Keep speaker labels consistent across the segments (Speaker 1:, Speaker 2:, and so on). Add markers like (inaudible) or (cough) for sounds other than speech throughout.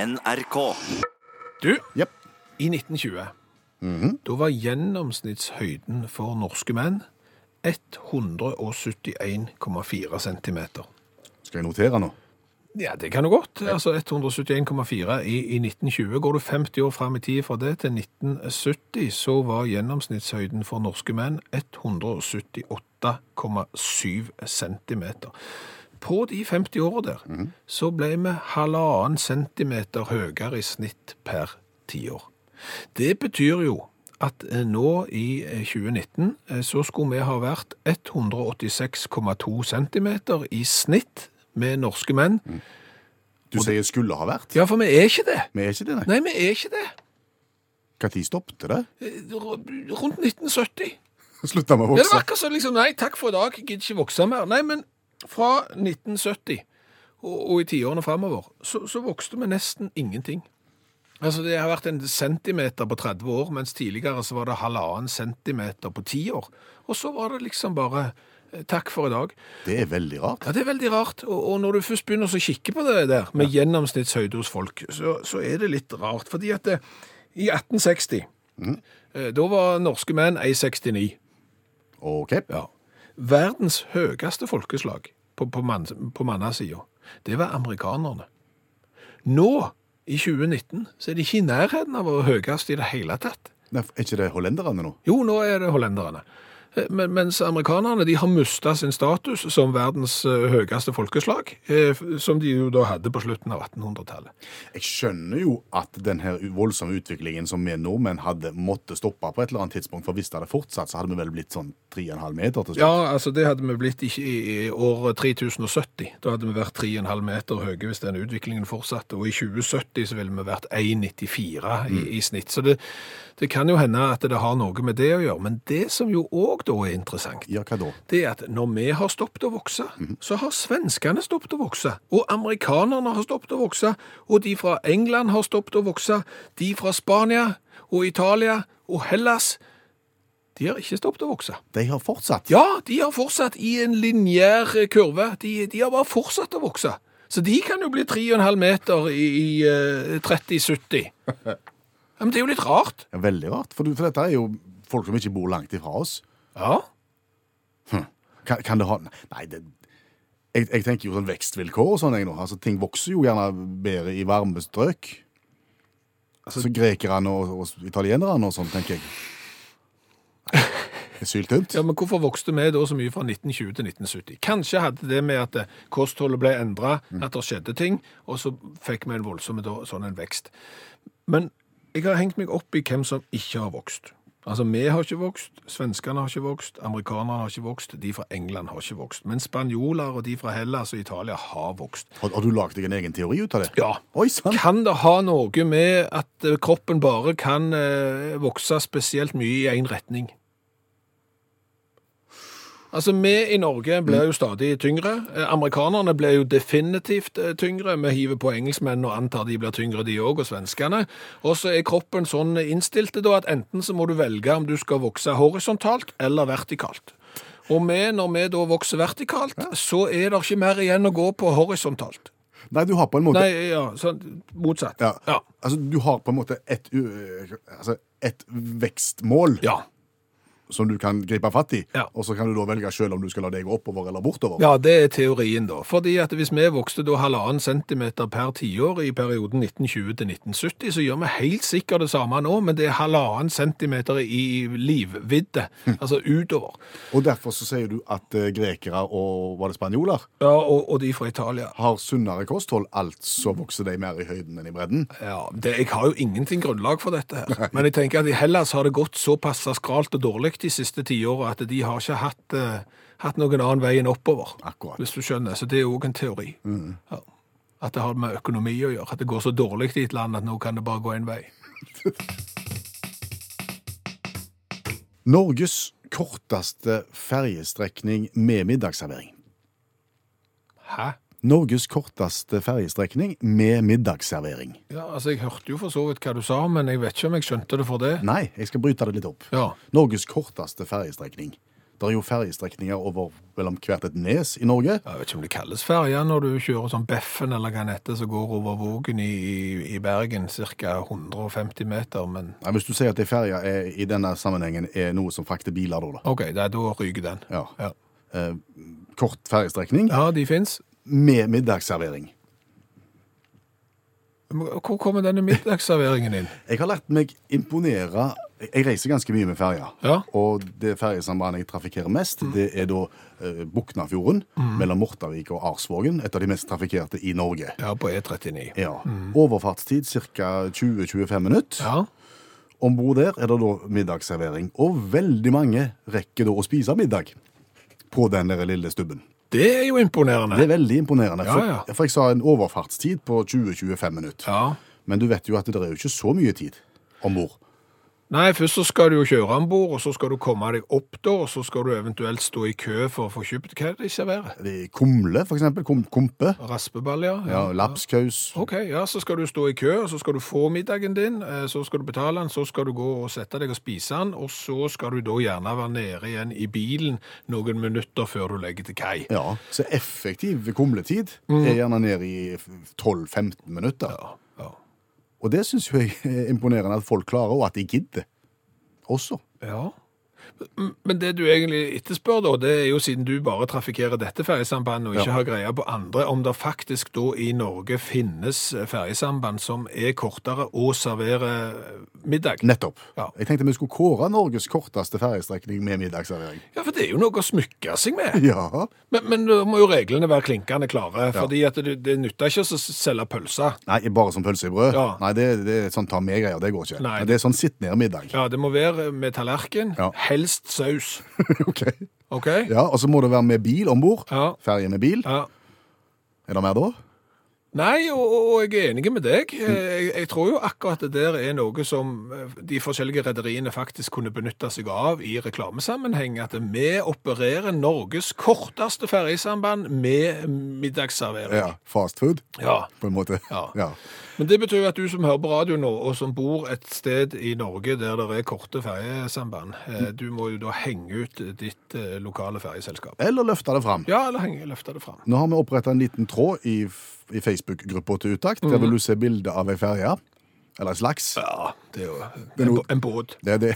Speaker 1: NRK.
Speaker 2: Du,
Speaker 3: Jepp.
Speaker 2: i 1920, da var gjennomsnittshøyden for norske menn 171,4 cm.
Speaker 3: Skal jeg notere nå?
Speaker 2: Ja, det kan du godt. Altså 171,4 i, i 1920. Går du 50 år fram i tid fra det til 1970, så var gjennomsnittshøyden for norske menn 178,7 cm. På de 50 åra der så ble vi halvannen centimeter høyere i snitt per tiår. Det betyr jo at eh, nå i eh, 2019 eh, så skulle vi ha vært 186,2 cm i snitt med norske menn.
Speaker 3: Du sier skulle ha vært.
Speaker 2: Ja, for vi er ikke det.
Speaker 3: Vi er ikke det, nei.
Speaker 2: Nei, vi er ikke det.
Speaker 3: Når stoppet (laughs) det?
Speaker 2: Eh, r- Rundt 1970.
Speaker 3: Slutta med å
Speaker 2: Ja, det var
Speaker 3: vokse.
Speaker 2: akkurat sånn liksom Nei, takk for i dag, jeg gidder ikke vokse mer. Nei, men fra 1970 og, og i tiårene framover, så, så vokste vi nesten ingenting. Altså, Det har vært en centimeter på 30 år, mens tidligere så var det halvannen centimeter på 10 år. Og så var det liksom bare eh, takk for i dag.
Speaker 3: Det er veldig rart.
Speaker 2: Ja, Det er veldig rart. Og, og når du først begynner å kikke på det der, med gjennomsnittshøyde hos folk, så, så er det litt rart. Fordi at det, i 1860, eh, da var norske menn 1,69.
Speaker 3: OK.
Speaker 2: Ja. Verdens høyeste folkeslag på, på, mann, på mannasida, det var amerikanerne. Nå, i 2019, så er de ikke i nærheten av å være høyest i det hele tatt.
Speaker 3: Nei, er ikke det hollenderne nå?
Speaker 2: Jo, nå er det hollenderne. Eh, Men, mens amerikanerne de har mista sin status som verdens eh, høyeste folkeslag, eh, f- som de jo da hadde på slutten av 1800-tallet.
Speaker 3: Jeg skjønner jo at den her voldsomme utviklingen som vi nordmenn hadde, måtte stoppe på et eller annet tidspunkt, for hvis det hadde fortsatt, så hadde vi vel blitt sånn 3,5 meter til slutt.
Speaker 2: Ja, altså det hadde vi blitt ikke i, i år 3070. Da hadde vi vært 3,5 meter høye hvis den utviklingen fortsatte. Og i 2070 så ville vi vært 1,94 i, i snitt. Så det, det kan jo hende at det har noe med det å gjøre. Men det som jo òg da er interessant,
Speaker 3: Ja, hva da?
Speaker 2: det er at når vi har stoppet å vokse, så har svenskene stoppet å vokse, og amerikanerne har stoppet å vokse, og de fra England har stoppet å vokse, de fra Spania og Italia og Hellas, de har ikke stoppet å vokse.
Speaker 3: De har fortsatt.
Speaker 2: Ja, de har fortsatt i en linjær kurve, de, de har bare fortsatt å vokse. Så de kan jo bli 3,5 meter i, i eh, 30-70. Ja, Men det er jo litt rart.
Speaker 3: Ja, veldig rart, for, du, for dette er jo folk som ikke bor langt ifra oss.
Speaker 2: Ja,
Speaker 3: Kan, kan det ha Nei, det jeg, jeg tenker jo sånn vekstvilkår og sånn, jeg nå. Altså, ting vokser jo gjerne bedre i varme strøk.
Speaker 2: Altså-
Speaker 3: så grekerne og, og italienerne og sånn, tenker jeg. Det er
Speaker 2: (laughs)
Speaker 3: syltynt.
Speaker 2: Ja, men Hvorfor vokste vi da så mye fra 1920 til 1970? Kanskje hadde det med at eh, kostholdet ble endra, at det skjedde ting, og så fikk vi en voldsom da, sånn en vekst. Men jeg har hengt meg opp i hvem som ikke har vokst. Altså, Vi har ikke vokst, svenskene har ikke vokst, amerikanerne har ikke vokst, de fra England har ikke vokst. Men spanjoler og de fra Hellas og Italia har vokst.
Speaker 3: Har, har du lagd deg en egen teori ut av det?
Speaker 2: Ja.
Speaker 3: Oi sann!
Speaker 2: Kan det ha noe med at eh, kroppen bare kan eh, vokse spesielt mye i én retning? Altså, Vi i Norge blir jo stadig tyngre. Eh, Amerikanerne blir jo definitivt eh, tyngre. Vi hiver på engelskmennene og antar de blir tyngre, de òg, og svenskene. Og så er kroppen sånn innstilt da, at enten så må du velge om du skal vokse horisontalt eller vertikalt. Og vi, når vi da vokser vertikalt, så er det ikke mer igjen å gå på horisontalt.
Speaker 3: Nei, du har på en måte
Speaker 2: Nei, ja, sånn motsatt.
Speaker 3: Ja.
Speaker 2: Ja.
Speaker 3: Altså, du har på en måte et, u- altså, et vekstmål
Speaker 2: ja.
Speaker 3: som du kan gripe fatt i,
Speaker 2: Ja.
Speaker 3: og så kan du da velge sjøl om du skal la det gå oppover eller bortover.
Speaker 2: Ja, det er teorien da. Fordi at hvis vi vokste da halvannen centimeter per tiår i perioden 1920 til 1970, så gjør vi helt sikkert det samme nå, men det er halvannen centimeter i livvidde, altså utover.
Speaker 3: Og derfor så sier du at eh, grekere og var det spanjoler
Speaker 2: Ja, og, og de fra Italia.
Speaker 3: har sunnere kosthold, altså vokser de mer i høyden enn i bredden.
Speaker 2: Ja, det, jeg har jo ingenting grunnlag for dette her. Men jeg tenker at i Hellas har det gått såpass skralt og dårlig de siste tiårene at de har ikke hatt, eh, hatt noen annen vei enn oppover.
Speaker 3: Akkurat.
Speaker 2: Hvis du skjønner. Så det er òg en teori. Ja. At det har med økonomi å gjøre. At det går så dårlig i et land at nå kan det bare gå én vei.
Speaker 3: Norges korteste ferjestrekning med middagsservering.
Speaker 2: Hæ?
Speaker 3: Norges korteste ferjestrekning med middagsservering.
Speaker 2: Ja, altså Jeg hørte jo for så vidt hva du sa, men jeg vet ikke om jeg skjønte det for det.
Speaker 3: Nei, jeg skal bryte det litt opp.
Speaker 2: Ja,
Speaker 3: Norges korteste ferjestrekning. Det er jo ferjestrekninger over mellom hvert et nes i Norge.
Speaker 2: Jeg vet ikke om det kalles ferja når du kjører sånn Beffen eller hva den heter, som går over Vågen i, i- i Bergen, ca. 150 meter, men
Speaker 3: Nei, hvis du sier at ei ferje er- i denne sammenhengen er noe som frakter biler, da. da.
Speaker 2: OK, da, da ryker den.
Speaker 3: Ja.
Speaker 2: Ja,
Speaker 3: Eh, kort ferjestrekning
Speaker 2: ja de fins.
Speaker 3: med middagsservering.
Speaker 2: Hvor kommer denne middagsserveringen inn?
Speaker 3: Jeg har lært meg imponere Jeg reiser ganske mye med ferja.
Speaker 2: Ja.
Speaker 3: Og det ferjesambandet jeg trafikkerer mest, det er da eh, Buknafjorden mellom Mortavik og Arsvågen. Et av de mest trafikkerte i Norge.
Speaker 2: Ja, på E39.
Speaker 3: Ja. Overfartstid ca. 20-25 minutter.
Speaker 2: Ja,
Speaker 3: Om bord der er det da middagsservering. Og veldig mange rekker da å spise middag på den der lille stubben.
Speaker 2: det er jo imponerende.
Speaker 3: Det er veldig imponerende.
Speaker 2: Ja, ja.
Speaker 3: For, for jeg sa en overfartstid på 20-25 minutter.
Speaker 2: Ja.
Speaker 3: Men du vet jo at det er jo ikke så mye tid om bord.
Speaker 2: Nei, først så skal du jo kjøre om bord, og så skal du komme deg opp da, og så skal du eventuelt stå i kø for å få kjøpt hva er det de serverer.
Speaker 3: Det er Kumle, for eksempel. Kum, kumpe.
Speaker 2: Raspeball, ja.
Speaker 3: Ja, sånn. lapskaus.
Speaker 2: Ok, ja, så skal du stå i kø, og så skal du få middagen din, eh, så skal du betale den, så skal du gå og sette deg og spise den, og så skal du da gjerne være nede igjen i bilen noen minutter før du legger til kai.
Speaker 3: Ja, Så effektiv kumletid er gjerne ned i f- 12-15 minutter.
Speaker 2: Mhm. Ja,
Speaker 3: Og det syns jo jeg er imponerende at folk klarer, og at de gidder også.
Speaker 2: Ja. M- Men det du egentlig etterspør, da, det er jo siden du bare trafikkerer dette ferjesambandet og ikke har greie på andre, om det faktisk da i Norge finnes eh, ferjesamband som er kortere og serverer eh, middag.
Speaker 3: Nettopp.
Speaker 2: Ja.
Speaker 3: Jeg tenkte vi skulle kåre Norges korteste ferjestrekning med middagsservering. (laughs)
Speaker 2: Ja, for det er jo noe å smykke seg med.
Speaker 3: Ja.
Speaker 2: Men, men da må jo reglene være klinkende klare, fordi at det, det nytter ikke å s- selge pølser.
Speaker 3: Nei, bare som pølse i brød?
Speaker 2: Ja.
Speaker 3: Nei, det, det er sånn ta med-greier. Det går ikke.
Speaker 2: Nei.
Speaker 3: Men det er sånn sitt ned-middag.
Speaker 2: Ja, det må være eh, med tallerken,
Speaker 3: Ja.
Speaker 2: helst saus.
Speaker 3: (laughs) ok.
Speaker 2: OK?
Speaker 3: (laughs) Ja, Og så må det være med bil om bord.
Speaker 2: Ja.
Speaker 3: Ferje med bil.
Speaker 2: ja.
Speaker 3: Er det mer da?
Speaker 2: Nei, og, og og jeg er enig med deg. Jeg, jeg tror jo akkurat det der er noe som eh, de forskjellige rederiene faktisk kunne benytte seg av i reklamesammenheng. At vi opererer Norges korteste ferjesamband med middagsservering.
Speaker 3: Ja. Fast food,
Speaker 2: Ja.
Speaker 3: på en måte.
Speaker 2: Ja.
Speaker 3: ja.
Speaker 2: Men det betyr jo at du som hører på radio nå, og som bor et sted i Norge der det er korte ferjesamband, eh, du må jo da henge ut ditt eh, lokale ferjeselskap.
Speaker 3: Eller løfte det fram.
Speaker 2: Ja, eller henge, løfte det fram.
Speaker 3: Nå har vi oppretta en liten tråd i, f- i Facebook-gruppa til Utakt. Der vil du se bilde av ei ferje. Eller en slags.
Speaker 2: Ja, det er jo
Speaker 3: er
Speaker 2: en,
Speaker 3: noe-
Speaker 2: bå- en båt.
Speaker 3: Det, er det,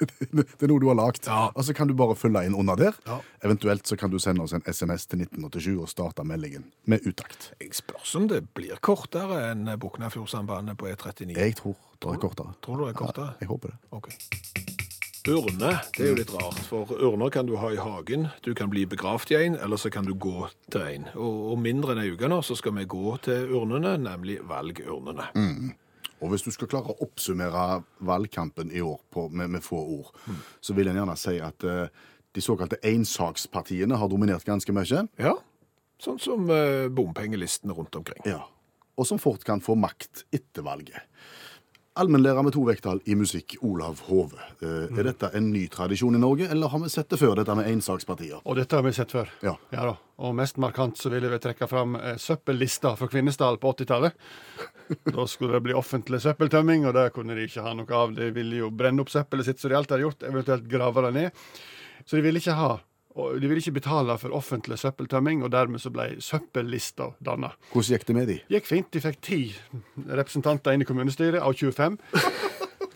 Speaker 3: (laughs) det er noe du har lagd.
Speaker 2: Ja.
Speaker 3: Og så kan du bare følge inn under der.
Speaker 2: Ja.
Speaker 3: Eventuelt så kan du sende oss en SMS til 1987 og starte meldingen med Utakt.
Speaker 2: Jeg spørs om det blir kortere enn Boknafjordsambandet på E39.
Speaker 3: Jeg tror det er kortere.
Speaker 2: Tror du det er kortere?
Speaker 3: Jeg håper det.
Speaker 2: Ok. Urne, det er jo litt rart, for urner kan du ha i hagen, du kan bli begravd i en, eller så kan du gå til en. Og, og mindre enn en uke nå, så skal vi gå til urnene, nemlig valgurnene.
Speaker 3: Og hvis du skal klare å oppsummere valgkampen i år på, med, med få ord, så vil en gjerne si at eh, de såkalte ensakspartiene har dominert ganske mye.
Speaker 2: Ja, sånn som eh, bompengelistene rundt omkring.
Speaker 3: Ja. Og som fort kan få makt etter valget. Allmennlærer med to vekttall i musikk, Olav Hove. Eh, Er dette en ny tradisjon i Norge, eller har vi sett det før, dette med ensakspartier?
Speaker 1: Og dette har vi sett før.
Speaker 3: Ja.
Speaker 1: da. Og mest markant så ville vi trekke fram eh, søppellista for Kvinesdal på 80-tallet. Da skulle det bli offentlig søppeltømming, og det kunne de ikke ha noe av. De ville jo brenne opp søppelet sitt som de alltid har gjort, eventuelt grave det ned. Så de ville ikke ha og de ville ikke betale for offentlig søppeltømming, og dermed så ble søppellista danna.
Speaker 3: Hvordan gikk det med de?
Speaker 1: Gikk fint. De fikk ti representanter inn i kommunestyret av 25.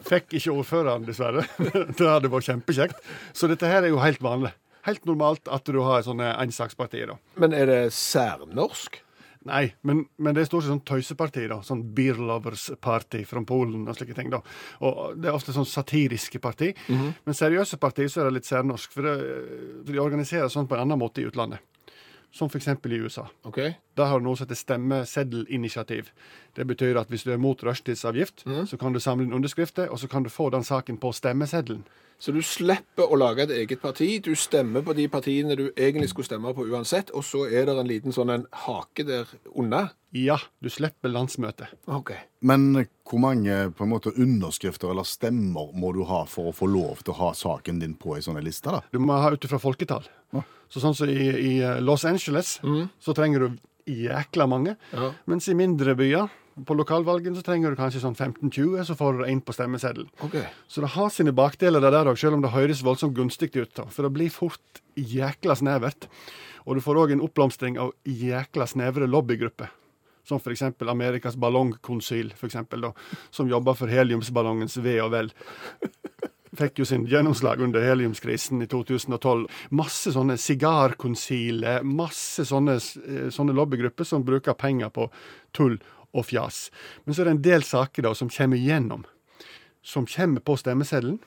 Speaker 1: Fikk ikke ordføreren, dessverre. (laughs) Det hadde vært kjempekjekt. Så dette her er jo helt vanlig. Helt normalt at du har sånne ensakspartier, da.
Speaker 2: Men er det særnorsk?
Speaker 1: Nei, men, men det er stort sett sånn tøyseparti, da. Sånn beer lovers party fra Polen og slike ting, da. Og det er ofte sånn satiriske parti. Men seriøse partier så er det litt særnorsk, for, det, for de organiserer sånn på en annen måte i utlandet. Som f.eks. i USA.
Speaker 2: Ok.
Speaker 1: Det har du noe som heter stemmeseddelinitiativ. Det betyr at hvis du er mot rushtidsavgift, så kan du samle inn underskrifter, og så kan du få den saken på stemmeseddelen.
Speaker 2: Så du slipper å lage et eget parti, du stemmer på de partiene du egentlig skulle stemme på uansett, og så er det en liten sånn en hake der unna.
Speaker 1: Ja, du slipper landsmøtet.
Speaker 2: Ok.
Speaker 3: Men eh, hvor mange på en måte, underskrifter eller stemmer må du ha for å få lov til å ha saken din på ei sånn ei liste? da?
Speaker 1: Du må ha ut ifra folketall. Så sånn som i, i Los Angeles, så trenger du jækla mange.
Speaker 2: Ja.
Speaker 1: Mens i mindre byer På lokalvalgen så trenger du kanskje sånn 15-20, så får du det inn på stemmeseddel.
Speaker 2: OK.
Speaker 1: Så det har sine bakdeler det der òg, selv om det høres voldsomt gunstig ut. da, For det blir fort jækla snevert. Og du får òg en oppblomstring av jækla snevre lobbygrupper. Som f.eks. Amerikas ballongkonsil, for eksempel, da, som jobber for heliumsballongens ve og vel. Fikk jo sin gjennomslag under heliumskrisen i 2012. Masse sånne sigarkonsiler, masse sånne, eh, sånne lobbygrupper som bruker penger på tull og fjas. Men så er det en del saker da som kommer igjennom som kommer på stemmeseddelen,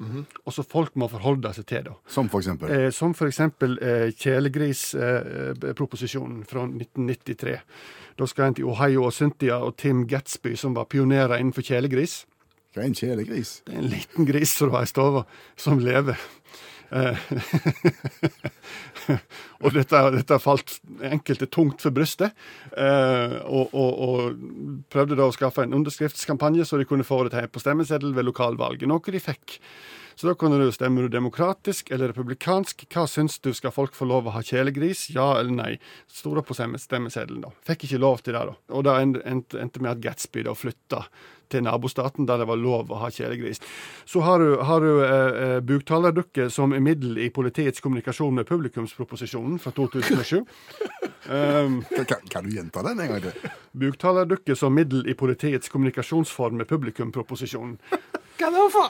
Speaker 1: og som folk må forholde seg til. da.
Speaker 3: Som for eksempel.
Speaker 1: Eh, som f.eks. Eh, kjælegrisproposisjonen fra 1993. Da skal en til Ohio og Cynthia og Tim Gatsby, som var pionerer innenfor kjælegris.
Speaker 3: Hva er en kjælegris?
Speaker 1: Det er en liten gris som du har i stova, som lever. Eh, (laughs) og dette, dette falt enkelte tungt for brystet. Eh, og, og, og prøvde da å skaffe en underskriftskampanje, så de kunne få det til på stemmeseddel ved lokalvalget, noe de fikk. Så da kunne du stemme du demokratisk eller republikansk. Hva syns du, skal folk få lov å ha kjælegris? Ja eller nei? Sto det på stemme- stemmeseddelen, da. Fikk ikke lov til det, da. Og det endte, endte med at Gatsby da flytta til nabostaten, der det var lov å ha kjælegris. Så har du, har du eh, eh, buktalerdukke som er middel i politiets kommunikasjon med publikumsproposisjonen fra 2007. Um,
Speaker 3: Kan, kan du gjenta den en gang (laughs) til?
Speaker 1: Buktalerdukke som middel i politiets kommunikasjonsform med publikumproposisjonen.
Speaker 2: Hva da for?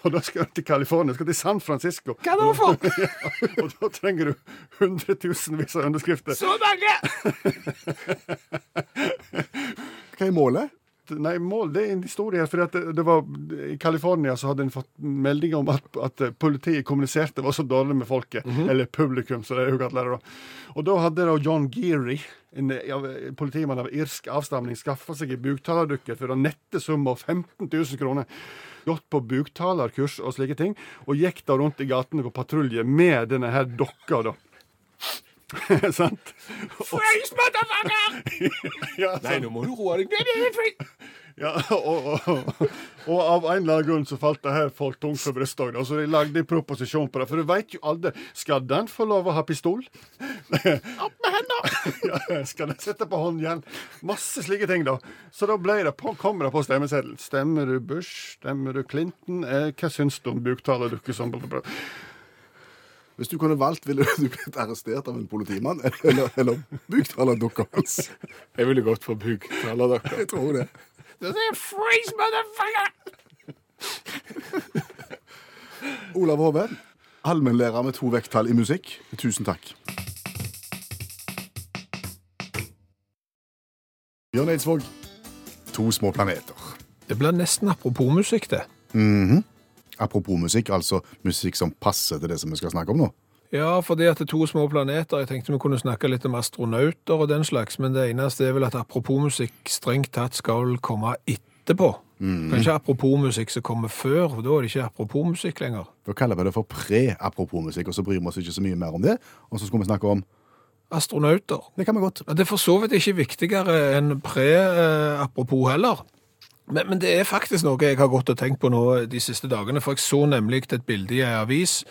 Speaker 1: Og da skal du til California, skal til San Francisco.
Speaker 2: Hva da (laughs) for?
Speaker 1: (laughs) Og da trenger du hundretusenvis av underskrifter.
Speaker 2: Så mange!
Speaker 3: Hva er målet?
Speaker 1: Nei, mål, det er en historie her. For at det, det var, I California så hadde en fått meldinger om at, at politiet kommuniserte var så dårlig med folket. Eller publikum, som det er jo kalt det. da. Og da hadde da John Geary, en eh, av- politimann av irsk avstamning, skaffa seg en buktalerdukke for en nette sum av 15 000 kroner. Gått på buktalerkurs og slike ting. Og gikk da rundt i gatene på patrulje med denne her dokka, da. (laughs) Sant? (laughs)
Speaker 2: Freeze, motherfucker!
Speaker 1: Ja, sant?
Speaker 2: Nei, nå må du roe deg. Det er fri-
Speaker 1: Ja, og, og, og, og av en eller annen grunn så falt det her folk tungt for brystet òg, da, så de lagde en proposisjon på det. For du veit jo aldri. Skal den få lov å ha pistol?
Speaker 2: (laughs) Opp med hendene!
Speaker 1: (laughs) Ja, skal den sitte på håndjern? Masse slike ting, da. Så da ble det på, kom det på stemmeseddelen. Stemmer du Bush? Stemmer du Clinton? Eh, hva syns du om buktalerdukke som
Speaker 3: Hvis du kunne valgt, ville du blitt arrestert av en politimann eller, eller buktalerdukka hans?
Speaker 2: Jeg ville gått for buktaler, dere.
Speaker 3: Jeg tror det.
Speaker 2: Det er freeze, motherfucker!
Speaker 3: Olav Hove, allmennlærer med to vekttall i musikk. Tusen takk. Bjørn Eidsvåg, to små planeter. Mhm.
Speaker 2: Det blir nesten apropos musikk, det.
Speaker 3: Apropos musikk, altså musikk som passer til det som vi skal snakke om nå.
Speaker 2: Ja, fordi at det er to små planeter. Jeg tenkte vi kunne snakke litt om astronauter og den slags, men det eneste er vel at apropos musikk strengt tatt skal vel komme etterpå. Kanskje apropos musikk som kommer før, for da er det ikke apropos musikk lenger.
Speaker 3: Da kaller vi det for pre-apropos musikk, og så bryr vi oss ikke så mye mer om det. Og så skal vi snakke om
Speaker 2: Astronauter.
Speaker 3: Det kan vi godt.
Speaker 2: Ja, Det er for så vidt ikke viktigere enn pre-apropos heller. Men, men det er faktisk noe jeg har gått og tenkt på nå de siste dagene, for jeg så nemlig et bilde i ei avis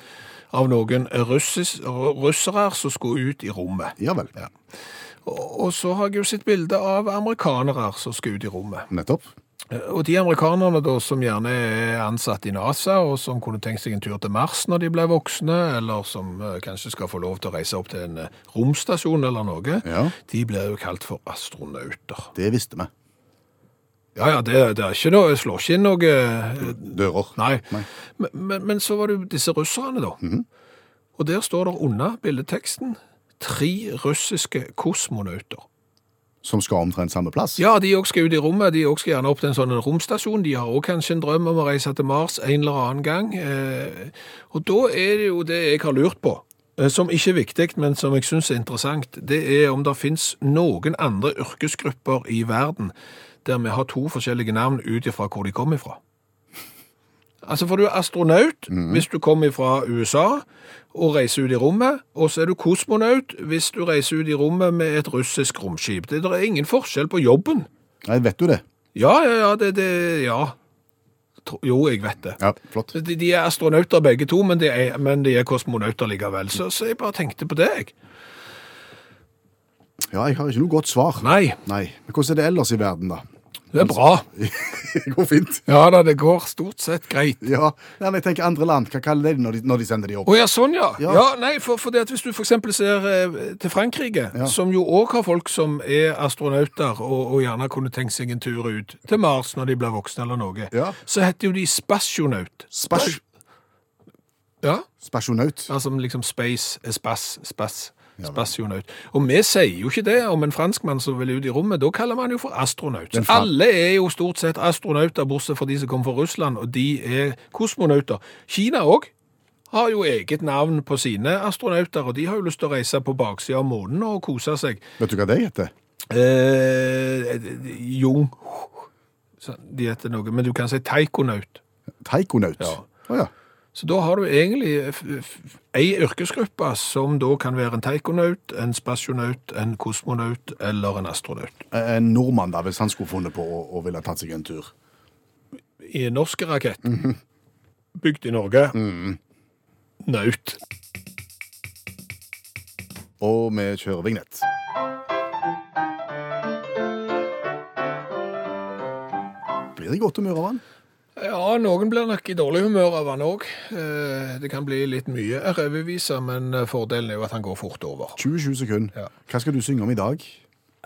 Speaker 2: av noen russis, russere som skulle ut i rommet.
Speaker 3: Ja vel.
Speaker 2: Og, og så har jeg jo sett bilde av amerikanere som skal ut i rommet.
Speaker 3: Nettopp.
Speaker 2: Og de amerikanerne da, som gjerne er ansatt i NASA, og som kunne tenkt seg en tur til Mars når de ble voksne, eller som eh, kanskje skal få lov til å reise opp til en eh, romstasjon eller noe,
Speaker 3: Ja.
Speaker 2: de blir jo kalt for astronauter.
Speaker 3: Det visste vi.
Speaker 2: Ja, ja, det, det er ikke noe, jeg slår ikke inn noe eh,
Speaker 3: Dører.
Speaker 2: Nei. Men, men, men så var det jo disse russerne, da. Og der står det unna bildeteksten tre russiske kosmonauter.
Speaker 3: Som skal omtrent samme plass.
Speaker 2: Ja, de òg skal ut i rommet. De òg skal gjerne opp til en sånn romstasjon. De har òg kanskje en drøm om å reise til Mars en eller annen gang. Eh, Og da er det jo det jeg har lurt på, eh, som ikke er viktig, men som jeg syns er interessant, det er om det fins noen andre yrkesgrupper i verden der vi har to forskjellige navn ut ifra hvor de kom ifra. Altså, for du er astronaut hvis du kommer fra USA og reiser ut i rommet, og så er du kosmonaut hvis du reiser ut i rommet med et russisk romskip. Det der er ingen forskjell på jobben.
Speaker 3: Nei, vet du det?
Speaker 2: Ja, ja, ja, det, det Ja. Tro- Jo, jeg vet det.
Speaker 3: Ja, flott.
Speaker 2: De, de er astronauter begge to, men de er, men de er kosmonauter likevel. Så, så jeg bare tenkte på det, jeg.
Speaker 3: Ja, jeg har ikke noe godt svar.
Speaker 2: Nei.
Speaker 3: Nei. Men hvordan er det ellers i verden, da?
Speaker 2: Det er bra.
Speaker 3: (laughs) Det går fint.
Speaker 2: Ja da, det går stort sett greit.
Speaker 3: Ja, Nei, men jeg tenker andre land, hva kaller de det når de, når de sender de opp?
Speaker 2: Å ja, sånn ja.
Speaker 3: Ja.
Speaker 2: ja. nei, for, for det at Hvis du f.eks. ser eh, til Frankrike,
Speaker 3: Ja.
Speaker 2: som jo òg har folk som er astronauter, og, og gjerne kunne tenkt seg en tur ut til Mars når de blir voksne eller noe,
Speaker 3: Ja.
Speaker 2: så heter jo de spasjonaut.
Speaker 3: Spas
Speaker 2: Ja,
Speaker 3: Spasjonaut.
Speaker 2: altså liksom space er spass, spass. Spasjonaut. Og vi sier jo ikke det om en franskmann som vil ut i rommet. Da kaller man jo for astronaut.
Speaker 3: Den fra-
Speaker 2: Alle er jo stort sett astronauter, bortsett fra de som kommer fra Russland, og de er kosmonauter. Kina òg har jo eget navn på sine astronauter, og de har jo lyst til å reise på baksida av månen og kose seg.
Speaker 3: Vet du hva det heter?
Speaker 2: Eh, Jung Så De heter noe, men du kan si taikonaut.
Speaker 3: Taikonaut.
Speaker 2: Ja.
Speaker 3: Å ja.
Speaker 2: Så da har du egentlig f- f- ei yrkesgruppe som da kan være en taikonaut, en spasjonaut, en kosmonaut eller en astronaut.
Speaker 3: Eh, En nordmann, da, hvis han skulle funnet på å, å ville tatt seg en tur.
Speaker 2: I en norsk rakett, bygd i Norge, naut.
Speaker 3: Og vi kjører vignett. Blir det godt humør av han?
Speaker 2: Ja, noen blir nok i dårlig humør av han òg. Eh, Det kan bli litt mye revyviser, men eh, fordelen er jo at han går fort over.
Speaker 3: 27 sekunder.
Speaker 2: Ja.
Speaker 3: Hva skal du synge om i dag?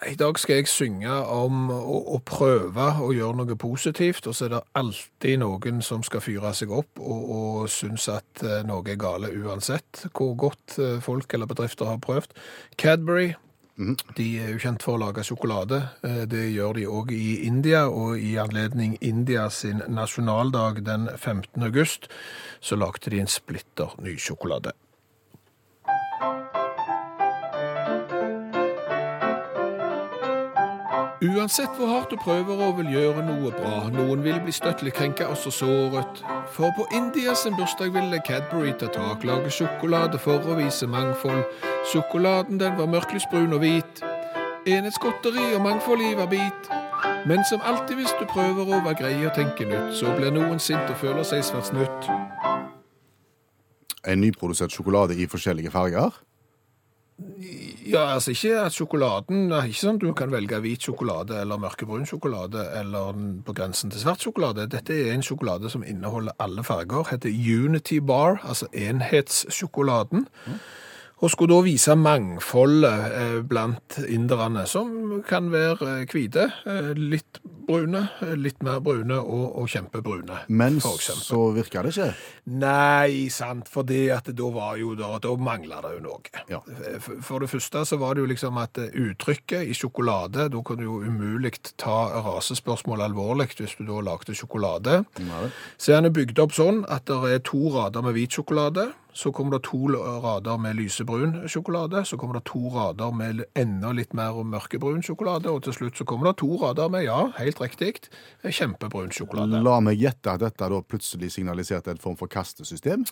Speaker 2: I dag skal jeg synge om å, å prøve å gjøre noe positivt, og så er det alltid noen som skal fyre seg opp og, og synes at eh, noe er gale uansett hvor godt eh, folk eller bedrifter har prøvd. Cadbury, de er jo kjent for å lage sjokolade. Eh, Det gjør de òg i India, og i anledning India sin nasjonaldag den 15. august, så lagde de en splitter ny sjokolade. Uansett hvor hardt du prøver og vil gjøre noe bra, noen vil bli støttelig krenka også såret. For på India sin bursdag ville Cadbury ta tak, lage sjokolade for å vise mangfold. Sjokoladen den var mørklysbrun og hvit. Enhetsgodteri og mangfold i hver bit. Men som alltid hvis du prøver å være grei og tenke nytt, så blir noen sint og føler seg svært snytt.
Speaker 3: En nyprodusert sjokolade i forskjellige farger?
Speaker 2: Ja, altså ikke at sjokoladen det er Ikke sånn at du kan velge hvit sjokolade eller mørkebrun sjokolade eller n- på grensen til svart sjokolade. Dette er en sjokolade som inneholder alle farger. Heter Unity Bar, altså enhetssjokoladen. Og skulle da vise mangfoldet eh, blant inderne, som kan være eh, hvite, eh, litt brune, eh, litt mer brune og, og kjempebrune.
Speaker 3: Men
Speaker 2: for eksempel.
Speaker 3: så virker det ikke.
Speaker 2: Nei, sant, for det at da var jo da, da mangla det jo noe.
Speaker 3: Ja.
Speaker 2: For- For det første så var det jo liksom at eh, uttrykket i sjokolade Da kunne du jo umulig ta rasespørsmål alvorlig hvis du da lagde sjokolade. Så er den bygd opp sånn at det er to rader med hvit sjokolade. Så kommer det to l- eh, rader med lysebrun sjokolade. Så kommer det to rader med l- enda litt mer mørkebrun sjokolade. Og til slutt så kommer det to rader med, ja, helt riktig, kjempebrun sjokolade.
Speaker 3: La meg gjette at dette da plutselig signaliserte en form for kastesystem.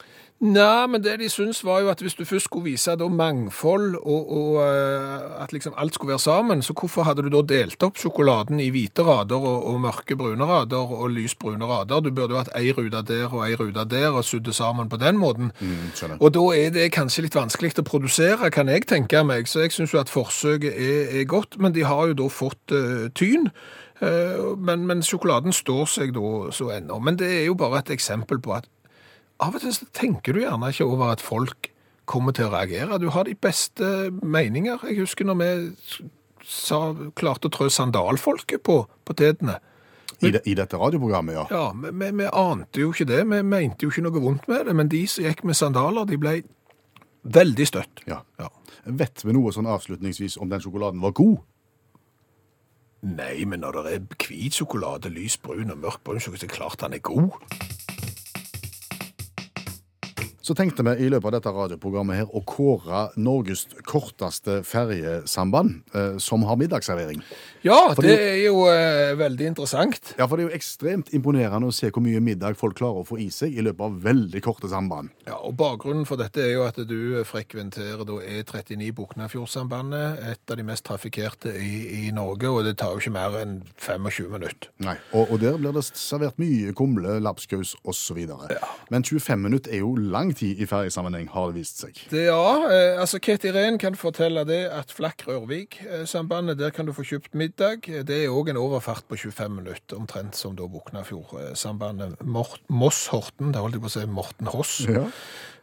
Speaker 2: Nei, men det de syntes var jo at hvis du først skulle vise da mangfold, og, og eh, at liksom alt skulle være sammen, så hvorfor hadde du da delt opp sjokoladen i hvite rader og, og mørke brune rader og lysbrune rader? Du burde jo hatt ei rute der og ei rute der og sydd det sammen på den måten.
Speaker 3: skjønner.
Speaker 2: Og da er det kanskje litt vanskelig å produsere, kan jeg tenke meg. Så jeg syns jo at forsøket er, er godt, men de har jo da fått eh, tyn. Eh, men, men sjokoladen står seg da så ennå. Men det er jo bare et eksempel på at av og til så tenker du gjerne ikke over at folk kommer til å reagere. Du har de beste meninger. Jeg husker når vi sa, klarte å trø sandalfolket på potetene.
Speaker 3: I, de, I dette radioprogrammet, ja.
Speaker 2: Ja, vi, vi, vi ante jo ikke det. Vi mente jo ikke noe vondt med det. Men de som gikk med sandaler, de ble veldig støtt.
Speaker 3: ja.
Speaker 2: Ja.
Speaker 3: Vet vi noe sånn avslutningsvis om den sjokoladen var god?
Speaker 2: Nei, men når det er hvit sjokolade, lys brun og mørk brun, så er det klart han er god.
Speaker 3: Så tenkte vi i løpet av dette radioprogrammet her å kåre Norges korteste ferjesamband eh, som har middagsservering.
Speaker 2: Ja,
Speaker 3: Fordi-
Speaker 2: det er jo eh, veldig interessant.
Speaker 3: Ja, for det er jo ekstremt imponerende å se hvor mye middag folk klarer å få i seg i løpet av veldig korte samband.
Speaker 2: Ja, og Bakgrunnen for dette er jo at du frekventerer da E39 Boknafjordsambandet, et av de mest trafikkerte i, i Norge, og det tar jo ikke mer enn 25 minutter.
Speaker 3: Nei. Og, og der blir det servert mye kumle, lapskaus osv. Men 25 minutter er jo lang tid i ferjesammenheng, har det vist seg.
Speaker 2: Det, ja, eh, altså Kate Irén kan fortelle det at Flakk-Rørvik-sambandet, der kan du få kjøpt middag. Eh, Det er òg en overfart på 25 minutter, omtrent som da Boknafjord-sambandet. Mort- Moss-Horten, det holdt jeg på å si Morten Hoss.
Speaker 3: Ja.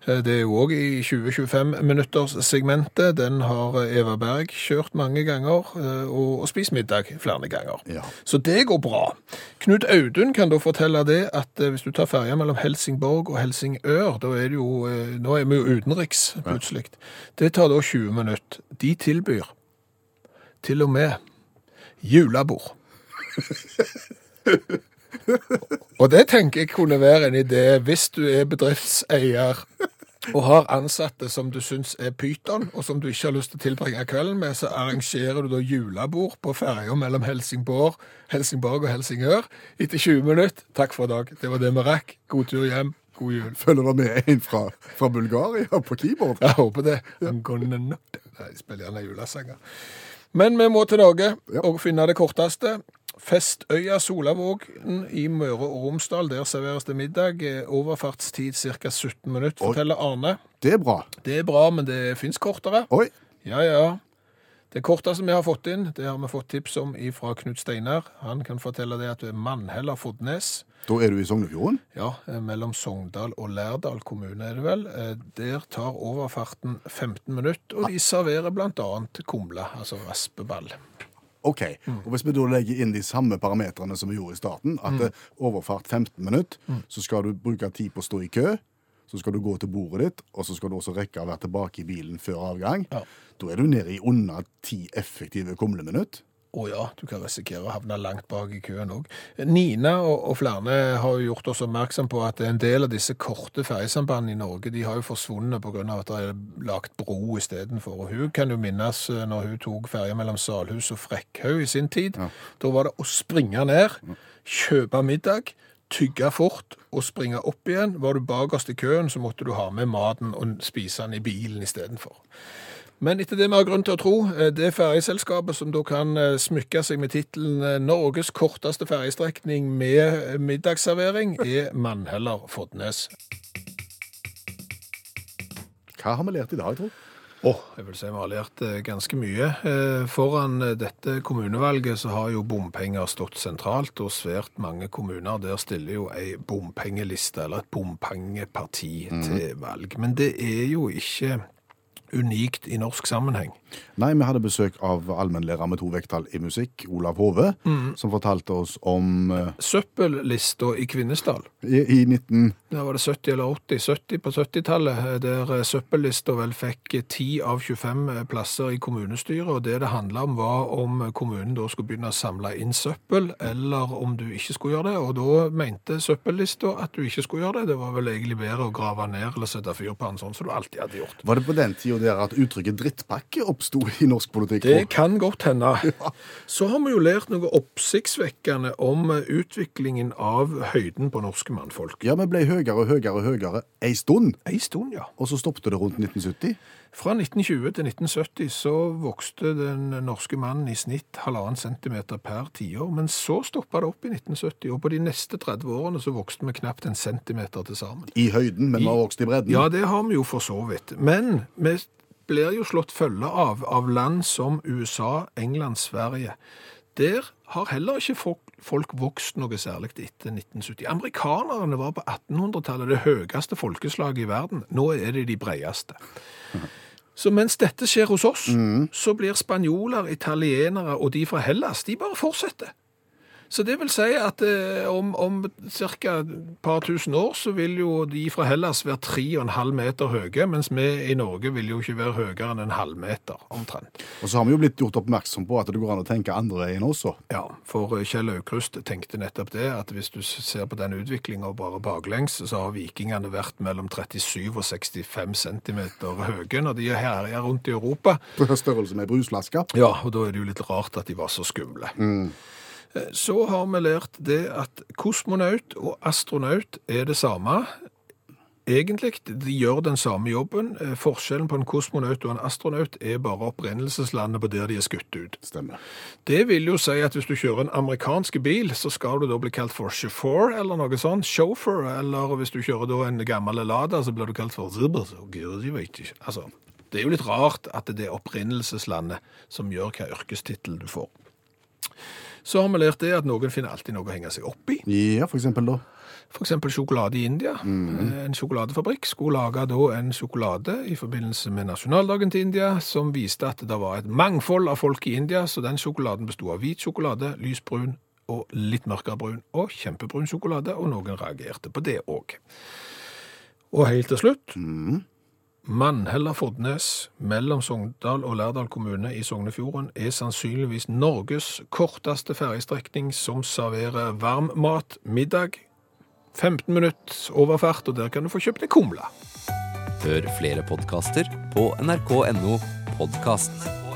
Speaker 2: Eh, Det er jo òg i 20-25 minutters segmentet. Den har eh, Eva Berg kjørt mange ganger, eh, og, og spist middag flere ganger.
Speaker 3: Ja.
Speaker 2: Så det går bra. Knut Audun kan da fortelle det at eh, hvis du tar ferja mellom Helsingborg og Helsingør, da er det jo eh, Nå er vi jo utenriks, plutselig. Det tar da 20 minutter. De tilbyr til og med julebord. Og det tenker jeg kunne være en idé hvis du er bedriftseier og har ansatte som du syns er pyton, og som du ikke har lyst til å tilbringe kvelden med, så arrangerer du da julebord på ferja mellom Helsingborg, Helsingborg og Helsingør. Etter 20 minutter, takk for i dag. Det var det vi rakk. God tur hjem. God jul.
Speaker 3: Følger det med en fra, fra Bulgaria på keyboard?
Speaker 2: Jeg håper det. I'm gonna knock. Nei, de spiller gjerne julesanger. Men vi må til Norge og finne det korteste. Festøya Solavågen i Møre og Romsdal. Der serveres det middag. Eh, Overfartstid ca. 17 minutter, forteller Arne.
Speaker 3: Det er bra.
Speaker 2: Det er bra, men det fins kortere.
Speaker 3: Oi,
Speaker 2: Ja, ja. Det korteste vi har fått inn, det har vi fått tips om fra Knut Steinar. Han kan fortelle det at Mannheller-Fodnes
Speaker 3: da er du i Sognefjorden.
Speaker 2: ja, eh, mellom Sogndal og Lærdal kommune er det vel. Eh, Der tar overfarten 15 minutter, og de serverer blant annet kumle, altså raspeball.
Speaker 3: Ok, og Hvis vi da legger inn de samme parametrene som vi gjorde i starten, at det er overfart 15 minutter, så skal du bruke tid på å stå i kø, så skal du gå til bordet ditt, og så skal du også rekke å være tilbake i bilen før avgang.
Speaker 2: Ja.
Speaker 3: Da er du nede i under ti effektive kumleminutt.
Speaker 2: Å ja, du kan risikere å havne langt bak i køen òg. Nina og, og flere har jo gjort oss oppmerksom på at en del av disse korte ferjesambandene i Norge de har jo forsvunnet pga. at det er lagt bro istedenfor. Og Hun kan jo minnes eh, når hun tok ferje mellom Salhus og Frekkhaug i sin tid. Da var det å springe ned, kjøpe middag, tygge fort og springe opp igjen. Var du bakerst i køen, så måtte du ha med maten og spise den i bilen istedenfor. Men etter det vi har grunn til å tro, eh, det ferjeselskapet som da kan eh, smykke seg med tittelen eh, 'Norges korteste ferjestrekning med eh, middagsservering', er Mannheller-Fodnes.
Speaker 3: Hva har vi lært i dag, tro?
Speaker 2: Åh, jeg vil si vi har lært eh, ganske mye. Eh, Foran eh, dette kommunevalget så har jo bompenger stått sentralt, og svært mange kommuner der stiller jo ei bompengeliste, eller et bompengeparti til valg. Men det er jo ikke unikt i norsk sammenheng.
Speaker 3: Nei, vi hadde besøk av allmennlærer med to vekttall i musikk, Olav Hove, som fortalte oss om eh,
Speaker 2: Søppellista i Kvinesdal.
Speaker 3: i, i 19...
Speaker 2: Da var det 70 eller 80, 70 på 70-tallet, eh, der eh, søppellista vel fikk eh, 10 av 25 eh, plasser i kommunestyret, og det det handla om var om eh, kommunen da skulle begynne å samle inn søppel, eller om du ikke skulle gjøre det, og da mente søppellista at du ikke skulle gjøre det. Det var vel egentlig bedre å grave ned eller sette fyr på den sånn som du alltid hadde gjort.
Speaker 3: Var det på den tida der at uttrykket 'drittpakke' oppsto i norsk politikk? Tor?
Speaker 2: Det kan godt hende. Så har vi jo lært noe oppsiktsvekkende om eh, utviklingen av høyden på norske mannfolk.
Speaker 3: Ja, vi ble høyere og høyere og høyere ei stund,
Speaker 2: Ei stund, ja.
Speaker 3: og så stoppet det rundt 1970.
Speaker 2: Fra 1920 til 1970 så vokste den norske mannen i snitt halvannen centimeter per tiår, men så stoppa det opp i 1970, og på de neste 30 årene så vokste vi knapt en centimeter til sammen.
Speaker 3: I høyden, men vi har vokst i bredden.
Speaker 2: Ja, det har vi jo for så vidt, men vi blir jo slått følge av av land som USA, England, Sverige. Der har heller ikke folk, folk vokst noe særlig etter 1970. Amerikanerne var på 1800-tallet det høyeste folkeslaget i verden. Nå er det de bredeste. Så mens dette skjer hos oss, så blir spanjoler, italienere og de fra Hellas, de bare fortsetter. Så det vil si at eh, om, om ca. et par tusen år så vil jo de fra Hellas være tre og en halv meter høye, mens vi i Norge vil jo ikke være høyere enn en halv meter, omtrent.
Speaker 3: Og så har vi jo blitt gjort oppmerksom på at det går an å tenke andre veien også. (laughs)
Speaker 2: Ja, for Kjell Aukrust tenkte nettopp det, at hvis du ser på den utviklinga bare baklengs, så har vikingene vært mellom 37 og 65 centimeter høye når de herjer rundt i Europa.
Speaker 3: På størrelse med bruslaska.
Speaker 2: Ja, og da er det jo litt rart at de var så skumle. Eh, Så har vi lært det at kosmonaut og astronaut er det samme. Egentlig, de gjør den samme jobben. Eh, Forskjellen på en kosmonaut og en astronaut er bare opprinnelseslandet på der de er skutt ut.
Speaker 3: Stemmer.
Speaker 2: Det vil jo si at hvis du kjører en amerikansk bil, så skal du da bli kalt for chauffeur eller noe sånt. Chauffeur, eller hvis du kjører da en gammel Lada, så blir du kalt for Zibbers og Gud, jeg vet ikke. Altså, det er jo litt rart at det er opprinnelseslandet som gjør hva yrkestittel du får. Så har vi lært det at noen finner alltid noe å henge seg opp i.
Speaker 3: Ja, for eksempel, da.
Speaker 2: For eksempel sjokolade i India. Eh, En sjokoladefabrikk skulle lage da en sjokolade i forbindelse med nasjonaldagen til India, som viste at det var et mangfold av folk i India, så den sjokoladen bestod av hvit sjokolade, lysbrun og litt mørkere brun, og kjempebrun sjokolade, og noen reagerte på det òg. Og helt til slutt Mannhella Fordnes mellom Sogndal og Lærdal kommune i Sognefjorden er sannsynligvis Norges korteste ferjestrekning som serverer varm mat middag 15 minutter overfart, og der kan du få kjøpt en kumle.
Speaker 4: Hør flere podkaster på nrk.no podkast.